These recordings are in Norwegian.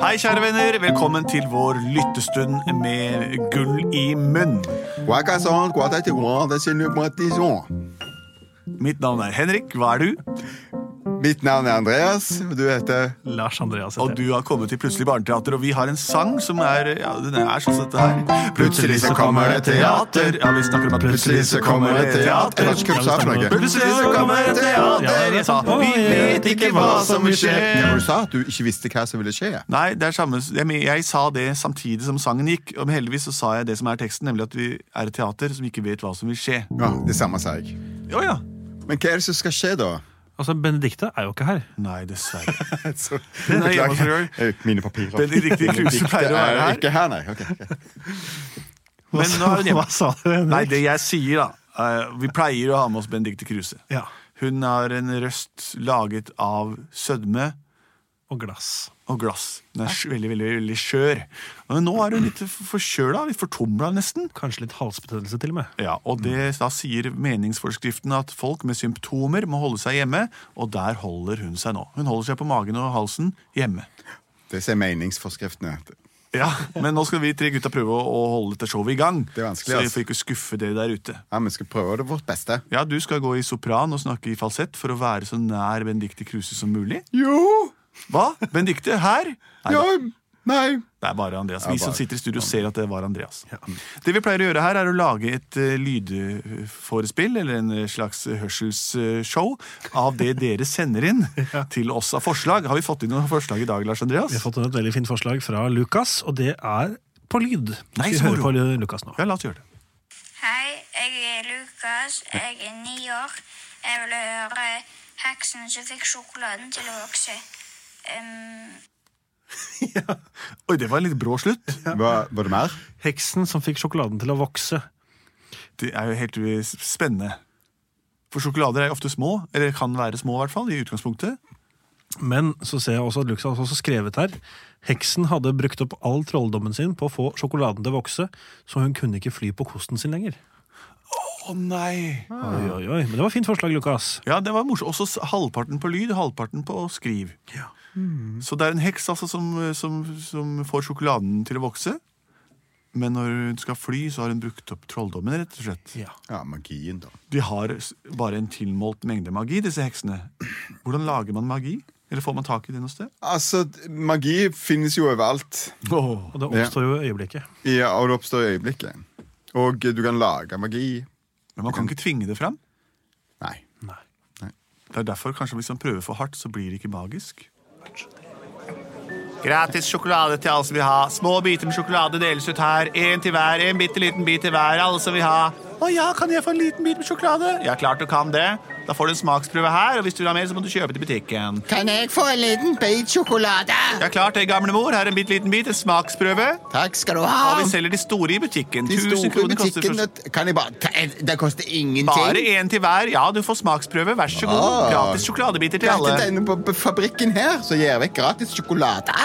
Hei, kjære venner. Velkommen til vår lyttestund med gull i munn. Wakasan, Guatatiguan, det er Nubatison. Mitt navn er Henrik. Hva er du? Mitt navn er Andreas, og du heter Lars Andreas Og du har kommet til Plutselig barneteater, og vi har en sang som er ja, den er sånn som dette her. Plutselig så kommer det teater. Ja, vi snakker om at Plutselig så kommer det teater. Jeg har ikke kunnet snakke noe. Plutselig så kommer det teater. Jeg sa vi vet ikke hva som vil skje. Ja, Du sa at du ikke visste hva som ville skje. Nei, det er samme, jeg, men- jeg sa det samtidig som sangen gikk, og heldigvis så sa jeg det som er teksten, nemlig at vi er et teater som ikke vet hva som vil skje. Ja, Det samme sa jeg. Å ja. Men hva er det som skal skje, da? Altså, Benedicte er jo ikke her. Nei, dessverre. Så- Den er hjemme hos Beklager. deg. Jeg- Mine papirer. Benedicte Kruse pleier å Det være er her. Ikke her, nei. Ok, ok. Men nå er hun hjemme. Hva sa du, Henrik? Nei, det jeg sier da eh, Vi pleier å ha med oss Benedikte Kruse. Ja, Hun har en røst laget av sødme og glass. og glass. Hun er sj- veldig, veldig, veldig skjør. Men nå er hun litt f- forkjøla, litt fortumla nesten. Kanskje litt halsbetennelse til og med. Ja, og det, Da sier meningsforskriften at folk med symptomer må holde seg hjemme, og der holder hun seg nå. Hun holder seg på magen og halsen hjemme. Det sier meningsforskriftene. Ja, Men nå skal vi tre gutta prøve å å holde dette showet i gang. Det er så vi vanskelig, altså. får ikke skuffe dere der ute. Ja, Vi skal prøve det vårt beste. Ja, Du skal gå i sopran og snakke i falsett for å være så nær Benedicte Kruse som mulig. Jo! Hva? Benedicte her? Nei, da. Ja, nei. det er bare Andreas. Vi Ja, bare. som sitter i studio, ser at det var Andreas. Det vi pleier å gjøre her, er å lage et eh, lydforespill, eller en eh, slags hørselsshow, av det dere sender inn til oss av forslag. Har vi fått inn noen forslag i dag, Lars Andreas? Vi har fått inn et veldig fint forslag fra Lukas, og det er på lyd. Nei, Skal vi så høre moro. på lyd- Lukas nå. Ja, la oss gjøre det. Hei, jeg er Lukas. Jeg er ni år. Jeg vil høre heksen som fikk sjokoladen til å vokse. Um, Oi, det var en litt brå slutt. Var, var det mer? Heksen som fikk sjokoladen til å vokse. Det er jo helt eh, spennende. For sjokolader er jo ofte små, eller kan være små i hvert fall, i utgangspunktet. Men så ser jeg også at Lukas har også skrevet her Heksen hadde brukt opp all trolldommen sin på å få sjokoladen til å vokse, så hun kunne ikke fly på kosten sin lenger. Å nei! Oi, oi, oi. Men det var et fint forslag, Lukas. Ja, det var morsomt. Også s- halvparten på lyd, halvparten på skriv. Så det er en heks altså, som, som, som får sjokoladen til å vokse. Men når hun skal fly, så har hun brukt opp trolldommen. rett og slett. Ja. Ja, magien, da. De har s- bare en tilmålt mengde magi, disse heksene. Hvordan lager man magi? Eller får man tak i det noe sted? Altså, d- magi finnes jo overalt. Og det oppstår jo i øyeblikket. Ja, og det oppstår i øyeblikket. Og eh, du kan lage magi. Men man kan ikke tvinge det fram. Nei. Nei. Det er derfor kanskje hvis man prøver for hardt, så blir det ikke magisk. Gratis sjokolade til alle som vil ha. Små biter med sjokolade deles ut her. Én til hver, en bitte liten bit til hver. Alle som vil ha. Å ja, kan jeg få en liten bit med sjokolade? Ja, klart du kan det. Da får du en smaksprøve her, og hvis du vil ha mer, så må du kjøpe til butikken. Kan jeg få en liten bit sjokolade? Ja, klart det, gamle mor. Her er en bitte liten bit. En smaksprøve. Takk skal du Og ha. vi selger de store i butikken. Ah. De 1000 store kroner koster butikkene først. Kan jeg bare ta en? Det koster Bare ingenting. én til hver. Ja, du får smaksprøve. Vær så god. Ah. Gratis sjokoladebiter til alle. Dette er inne på på fabrikken her, så gir jeg vekk gratis sjokolade.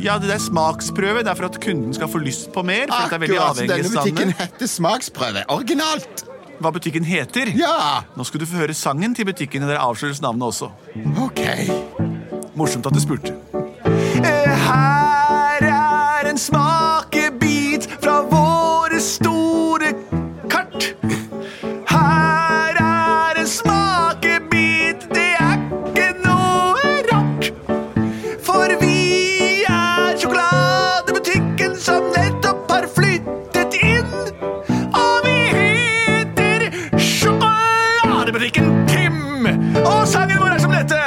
Ja, det er smaksprøve. Det er for at kunden skal få lyst på mer. For at det er veldig Akkurat som avhengig denne av butikken standene. heter Smaksprøve. Originalt. Hva butikken heter. Ja, Nå skal du få høre sangen til butikken, og dere avsløres navnet også. ok. Morsomt at du spurte. Eh, Her er en smakebit fra våre store kart. Her er en smakebit, det er ikke noe rart. For vi er sjokoladebutikken som nettopp har flyttet inn. Og vi heter Sjokoladebutikken Tim. Og sangen vår er som dette.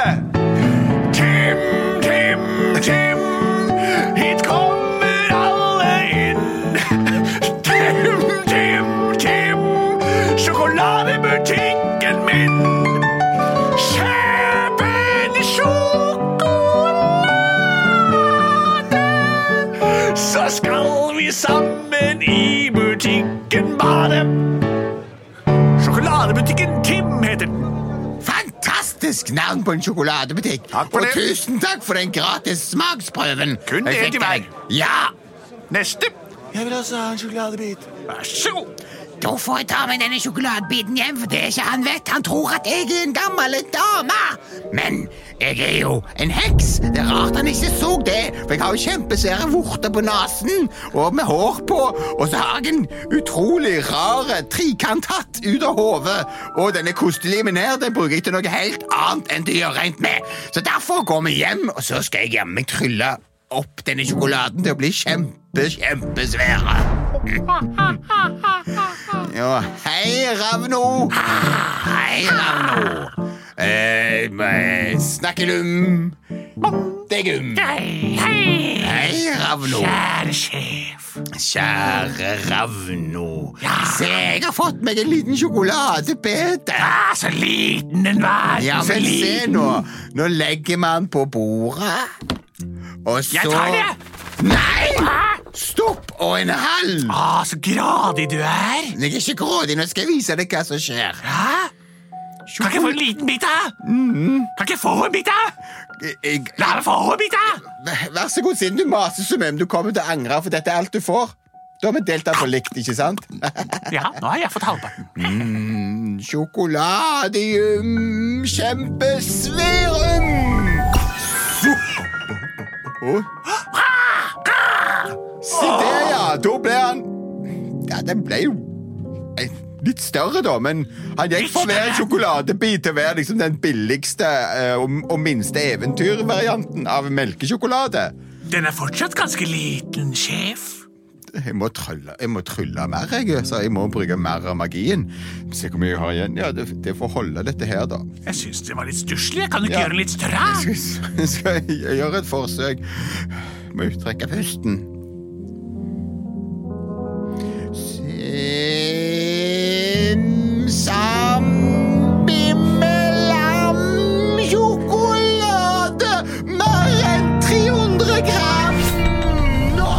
Tim, Tim, Tim, hit kommer alle inn. Tim, Tim, Tim, sjokoladebutikken min. Kjøp en sjokolade, så skal vi sammen i butikken bade. Sjokoladebutikken Tim heter den. Fantastisk navn på en sjokoladebutikk. Takk for og det. tusen takk for den gratis smaksprøven. Kun Jeg en fikk til hver. den. Ja, Neste. Jeg vil også ha en sjokoladebit. Vær så god. Da får jeg ta med denne sjokoladebiten hjem, for det er ikke han vet. Han tror at jeg er en gammel dame. Men jeg er jo en heks. Det er rart han ikke så det, for jeg har jo kjempesvære vorter på nesen og med hår på, og så har jeg en utrolig rar trikanthatt ut av hodet, og denne kostelimen her, den bruker jeg til noe helt annet enn til å gjøre rent med. Så derfor går vi hjem, og så skal jeg jammen trylle opp denne sjokoladen til å bli kjempe, kjempesvære. Ja, hei, Ravno. Ah, Hei, Ravno. Eh, eh, snakkelum. Degum. Hei, Ravno. Kjære sjef. Kjære Ravno. Se, jeg har fått meg en liten sjokoladebete. Ah, så liten den var! Ja, så men liten. se nå. Nå legger man på bordet. Og så Jeg tar det! Nei! Ah, Stopp og en halv! ah, så gradig du er! Jeg er ikke grådig. Nå skal jeg vise deg hva som skjer. Hæ? Kan ikke jeg få en liten bit, da? Mm-hmm. Kan ikke jeg få en bit, da? Jeg- jeg- La meg få en bit, da! Vær så god, siden du maser så mye, men du kommer til å angre, for dette er alt du får. Da har vi delt den på likt, ikke sant? Ja, nå har jeg fått halvparten. Sjokoladium kjempesvirum! Å. Se der, ja. Da ble han Ja, den ble jo eh, litt større, da, men han gikk fra å være en sjokoladebit til å være liksom den billigste eh, og, og minste eventyrvarianten av melkesjokolade. Den er fortsatt ganske liten, sjef. Jeg må trylle, jeg må trylle mer, jeg. Så jeg må bruke mer av magien. Se hvor mye jeg har igjen. Ja, det, det får holde, dette her, da. Jeg syns det var litt stusslig. Kan du ikke Ja. gjøre den litt større? Ah! Skal, skal jeg gjøre et forsøk? Må jeg trekke pusten. Sim, sam, bimmelam, sjokolade, mer enn 300 gram. Nå.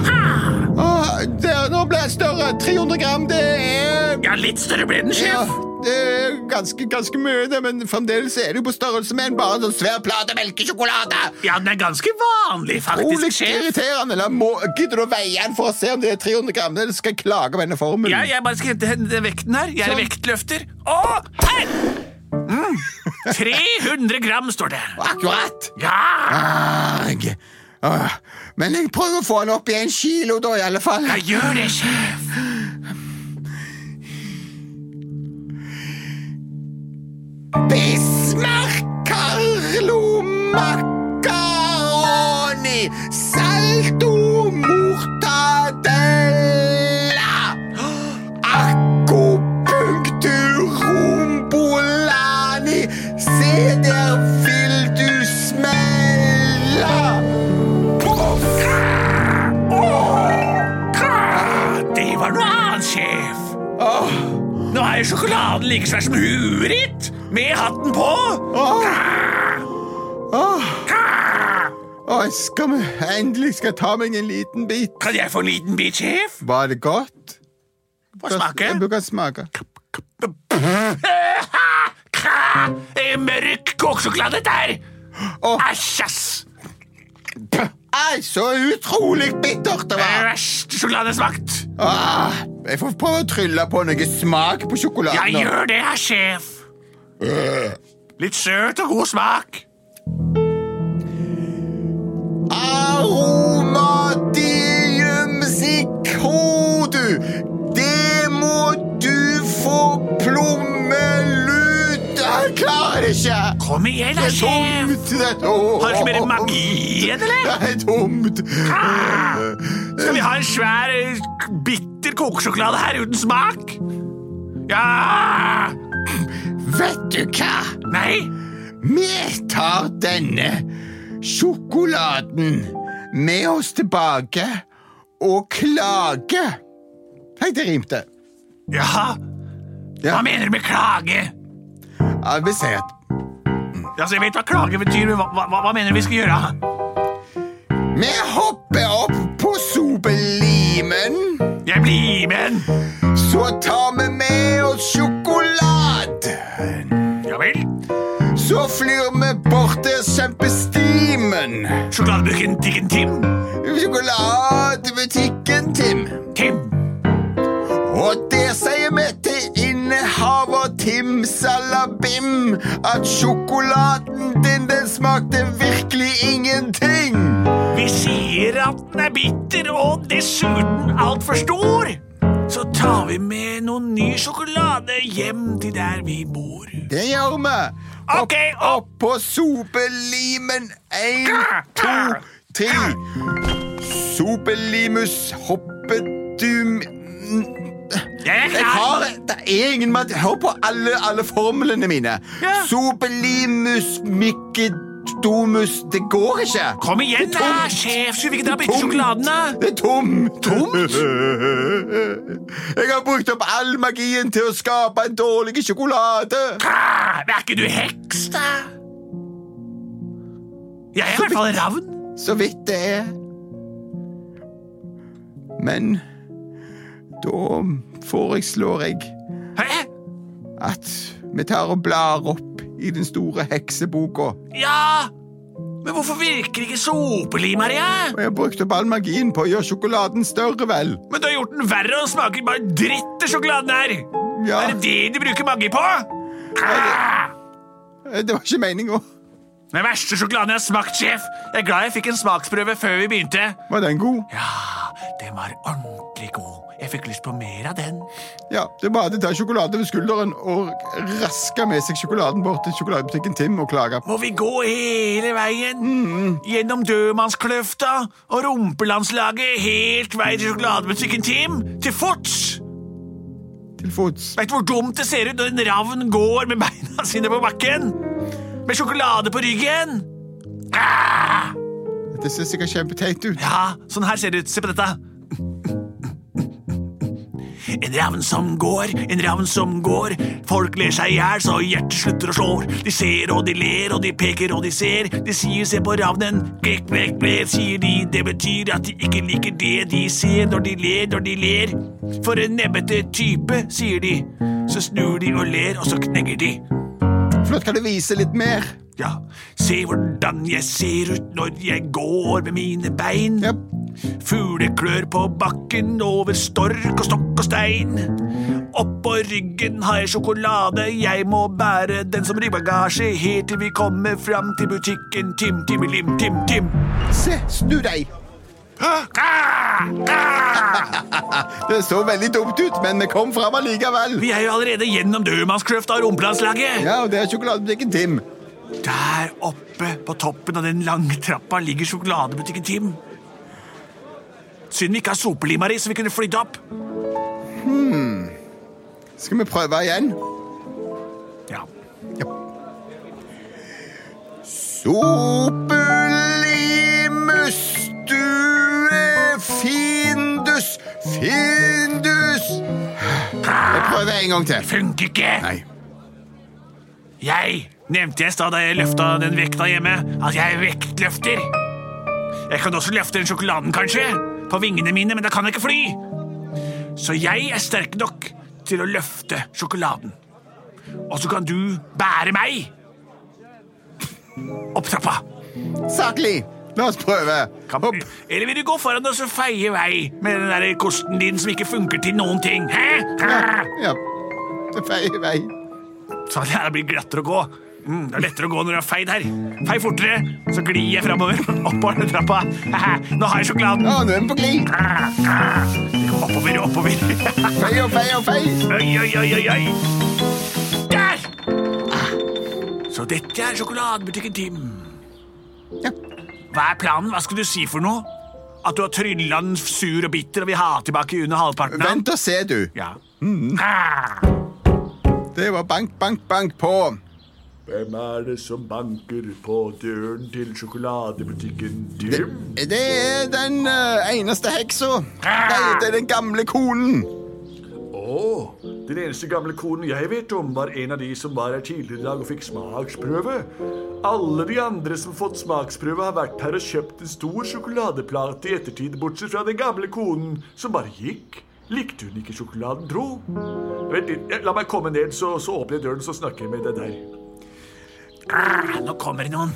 Ah, Der, nå ble jeg større. 300 gram, det er Ja, litt større ble den, ja, sjef. det er ganske, ganske mye, det, men fremdeles er det jo på størrelse med en bare en sånn svær plate melkesjokolade. Ja, den er ganske vanlig, Rolig faktisk, sjef. irriterende. La må, gidder du å veie den for å se om det er 300 gram? Eller skal jeg klage på denne formelen? Ja, jeg bare skal hente- hente vekten her. Jeg er Mm. Sånn. vektløfter. Å, her! Mm. 300 gram, står det. Akkurat. Ja! Arg. Åh, Men jeg prøver å få den opp i en kilo, da, i alle fall. Jeg gjør det, sjef. Bismarck, Carlo, Macaroni, Salto, Mortadella, Akupunktur, Rombolani, se der vil du smelle. Poff! Det var noe annet, sjef. Åh, Nå er jo sjokoladen like svær som huet ditt, med hatten på. åh, åh. Åh, skal vi endelig skal jeg ta meg en liten bit? Kan jeg få en liten bit, sjef? Var det godt? Få smake. Du kan smake. Eh, Mørk kokesjokolade der. Åh. Æsj, ass. Ei, så utrolig bittert det Det er var! Verst sjokoladesmakt. Ah, jeg får prøve å trylle på noe smak på Jeg sjokoladen. nå. gjør det, herr sjef. Litt søt og god smak. Aromadium sicodu, det må du få plommelut Jeg klarer det ikke! Kom igjen, Det da, er sjef. tomt! Det er tomt. Har du ikke mer magi igjen, eller? Ah! Det er tomt. Skal vi ha en svær, eh, bitter kokesjokolade her uten smak? Ja! Vet du hva? Nei? Vi tar denne sjokoladen med oss tilbake og klager. Hei, det rimte. Jaha? Ja. Hva mener du med klage? Ja, vi sier at Altså, jeg vet hva klage betyr, men hva, hva, hva mener du vi skal gjøre? vi hopper opp på sopelimen, Jeg blir med den. så tar vi med oss sjokolade. Ja vel? Så flyr komme bort og kjempe stimen. Sjokoladebutikken Tikken Tim. Sjokoladebutikken Tim. Tim. Og det sier vi til innehaver Tim Salabim, at sjokoladen din, den smakte virkelig ingenting. Vi sier at den er bitter og dessuten altfor stor. Så tar vi med noen ny sjokolade hjem til der vi bor. Det gjør vi. Ok, opp! På sopelimen. Én, to, tre. Sopelimus hoppedum... Jeg er Jeg har klar. det er ingen mat... Hør på alle, alle formlene mine. Ja. Sopelimus mykedomus Det går ikke. Kom igjen, Det er da, tomt. sjef, så vi ikke tar bitte Tomt. sjokoladen, da. Det er tomt. Tomt? Jeg har brukt opp all magien til å skape en dårlig sjokolade. Ah, Er ikke du heks, da? Jeg er i hvert fall ravn. Så vidt det er. Men da foreslår jeg Hæ? at vi tar og blar opp i den store hekseboka. Ja, men hvorfor virker ikke sopelim her, jeg? Og jeg har brukt opp all magien på å gjøre sjokoladen større, vel. Men du har gjort den verre og den smaker bare dritt til sjokoladen her. Ja, Er det det du bruker magi på? Ah! eh, det var ikke meninga. Den verste sjokoladen jeg har smakt, sjef. Jeg er glad jeg fikk en smaksprøve før vi begynte. Var den god? Ja, den var ordentlig god. Jeg fikk lyst på mer av den. Ja, det er bare å ta sjokolade ved skulderen og raske med seg sjokoladen bort til sjokoladebutikken Tim og klage. Må vi gå hele veien? Gjennom Dødmannskløfta og Rumpelandslaget helt vei til sjokoladebutikken Tim? Til fots? Til fots. Veit du hvor dumt det ser ut når en ravn går med beina sine på bakken? Med sjokolade på ryggen? Ah! Det ser sikkert kjempeteit ut. Ja, sånn her ser det ut. Se på dette. En ravn som går, en ravn som går. Folk ler seg i hjel så hjertet slutter å slå. De ser og de ler og de peker og de ser. De sier 'se på ravnen', blek, blek, blek, sier de. Det betyr at de ikke liker det de ser når de ler, når de ler. For en nebbete type, sier de. Så snur de og ler, og så knegger de. Flott, kan du vise litt mer? Ja, se hvordan jeg ser ut når jeg går med mine bein. Ja, Fugleklør på bakken over stork og stokk og stein. Oppå ryggen har jeg sjokolade, jeg må bære den som ryggbagasje helt til vi kommer fram til butikken Tim Timelim Tim Tim. se, snu deg. Det så veldig dumt ut, men vi kom fram allikevel. Vi er jo allerede gjennom dødmannskløfta og rompelandslaget. Ja, og det er sjokoladebutikken Tim. Der oppe på toppen av den lange trappa ligger sjokoladebutikken Tim. Synd vi ikke har sopelim her i, så vi kunne flydd opp. Skal vi prøve igjen? Ja. Sopelimus, du er findus, findus. Jeg prøver en gang til. Funker ikke! Nei. Jeg nevnte jeg i stad da jeg løfta den vekta hjemme, at jeg er vektløfter. Jeg kan også løfte den sjokoladen, kanskje, på vingene mine, men da kan jeg ikke fly. Så jeg er sterk nok til å løfte sjokoladen. Og så kan du bære meg opp trappa. Saklig. La oss prøve. Kan- Hopp. Eller vil du gå foran oss og feie vei med den der kosten din som ikke funker til noen ting? Hæ? Ja. Det er feil vei. Sånn at det blir glattere å gå. Mm, det er lettere å gå når du er feid her. Fei fortere, så glir jeg framover. Oppover den trappa. Nå har jeg sjokoladen. Ah, Ja, nå er vi på glid. Oppover, oppover. Fei og fei og fei. Oi, oi, oi, oi, oi. Der! Ah. Så dette er sjokoladebutikken Tim. Ja. Hva er planen? Hva skal du si for noe? At du har trylla den sur og bitter og vil ha tilbake under halvparten? av den? Vent og se, du. Ja. Det var bank, bank, bank på. Hvem er det som banker på døren til sjokoladebutikken Tim? Det er den eh, eneste heksa. Ah. Nei, det er den gamle konen. Å, den eneste gamle konen jeg vet om, var en av de som var her tidligere i dag og fikk smaksprøve. Alle de andre som fått smaksprøve, har vært her og kjøpt en stor sjokoladeplate i ettertid, bortsett fra den gamle konen, som bare gikk. Likte hun ikke sjokoladen, tro? Vent litt, eh, la meg komme ned, så, så åpner jeg døren, så snakker jeg med deg der. Grr, Nå kommer det noen.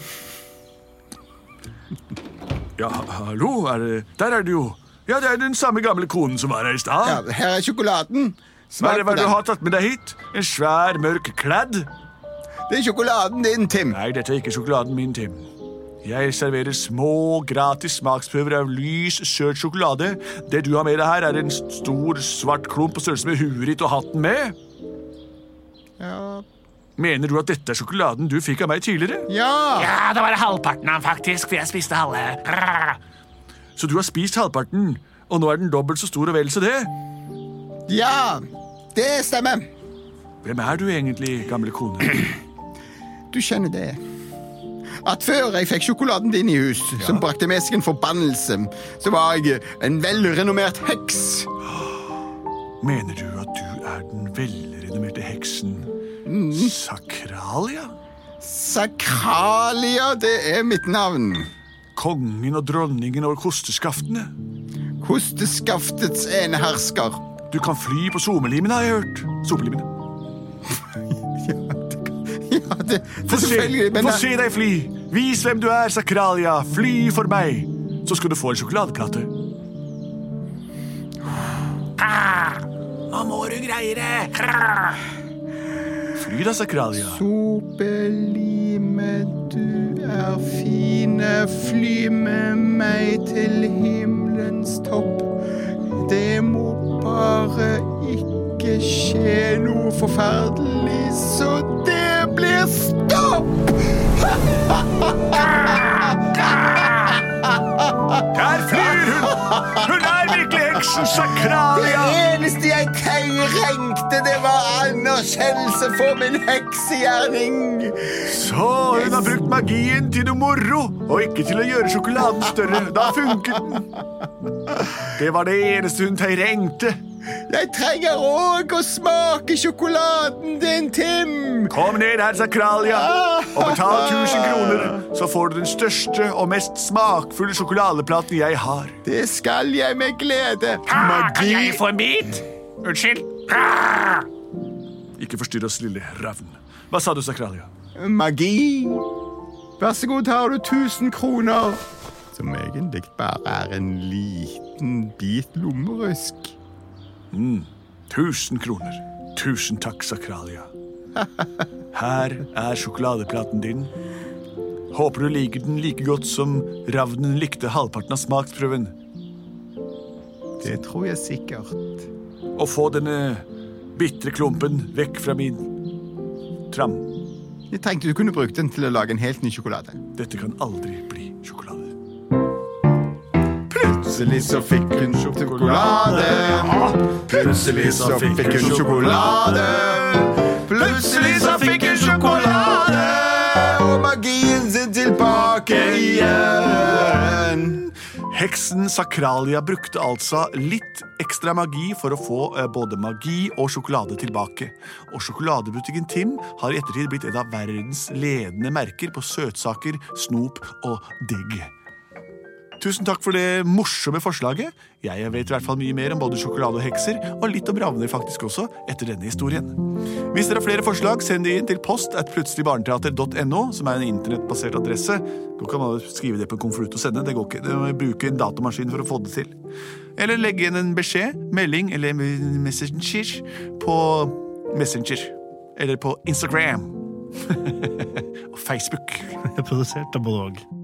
Ja, ha- hallo, er det Der er du jo. Ja, det er den samme gamle konen som var her i stad. Ja, her er sjokoladen. Hva er Smak det på hva du den. har tatt med deg hit? En svær, mørk kladd? Det er sjokoladen din, Tim. Nei, dette er ikke sjokoladen min, Tim. Jeg serverer små, gratis smaksprøver av lys, søt sjokolade. Det du har med deg her, er en stor, svart klump på størrelse med huet ditt og hatten med. Ja. Mener du at dette er sjokoladen du fikk av meg tidligere? ja. Ja, det var halvparten av den, faktisk, for jeg spiste halve. Grr. Så du har spist halvparten, og nå er den dobbelt så stor og vel så det? Ja, det stemmer. Hvem er du egentlig, gamle kone? Du skjønner det. At før jeg fikk sjokoladen din i hus, som brakte med seg en forbannelse, så var jeg en velrenommert heks. Mener du at du er den velrenommerte heksen Sakralia? Sakralia, det er mitt navn. Kongen og dronningen over kosteskaftene? Kosteskaftets enehersker. Du kan fly på somelimene, har jeg hørt. Sopelimene. Ja, det, Få det se, selvfølgelig, men få se deg fly! Vis hvem du er, Sakralia! Fly for meg! Så skal du få en sjokoladekake. Nå må du greie det. Grr. Fly da, Sakralia. Sopelime, du er fine, fly med meg til himmelens topp. Det må bare ikke skje noe forferdelig, så det blir stopp! Der flyr hun! Hun er virkelig heksen Sakralia! eneste jeg trengte, det var anerkjennelse for min heksegjerning. Så hun har brukt magien til noe moro, og ikke til å gjøre sjokoladen større. Da funket den. Det var det eneste hun trengte. Jeg trenger òg å smake sjokoladen din, Tim. Kom ned her, Sakralia, og betal 1000 kroner, så får du den største og mest smakfulle sjokoladeplaten jeg har. Det skal jeg med glede. Ah, Kan Magi jeg få en bit? Unnskyld. Grr. Ikke forstyrr oss, lille ravn. Hva sa du, Sakralia? Magi. Vær så god, her har du 1000 kroner. Som egentlig bare er en liten bit lommerusk. 1000 kroner. Tusen takk, Sakralia. Her er sjokoladeplaten din. Håper du liker den like godt som ravnen likte halvparten av smaksprøven. Det tror jeg sikkert. Og få denne bitre klumpen vekk fra min tram. Jeg tenkte du kunne brukt den til å lage en helt ny sjokolade. Dette kan aldri bli sjokolade. Plutselig så fikk hun sjokolade. Plutselig så fikk hun sjokolade. Plutselig så fikk hun sjokolade. Og magien sin tilbake igjen. Heksen Sakralia brukte altså litt ekstra magi for å få eh, både magi og sjokolade tilbake. Og sjokoladebutikken Tim har i ettertid blitt et av verdens ledende merker på søtsaker, snop og digg. Tusen takk for det morsomme forslaget. Jeg vet i hvert fall mye mer om både sjokolade og hekser, og litt om ravner faktisk også, etter denne historien. Hvis dere har flere forslag, send de inn til post at plutseligbarneteater.no, som er en internettbasert adresse. Da kan man skrive det på en konvolutt og sende. Det går ikke. Du må bruke en datamaskin for å få det til. Eller legge inn en beskjed, melding eller messenger på Messenger. Eller på Instagram. og Facebook. Produsert av både og.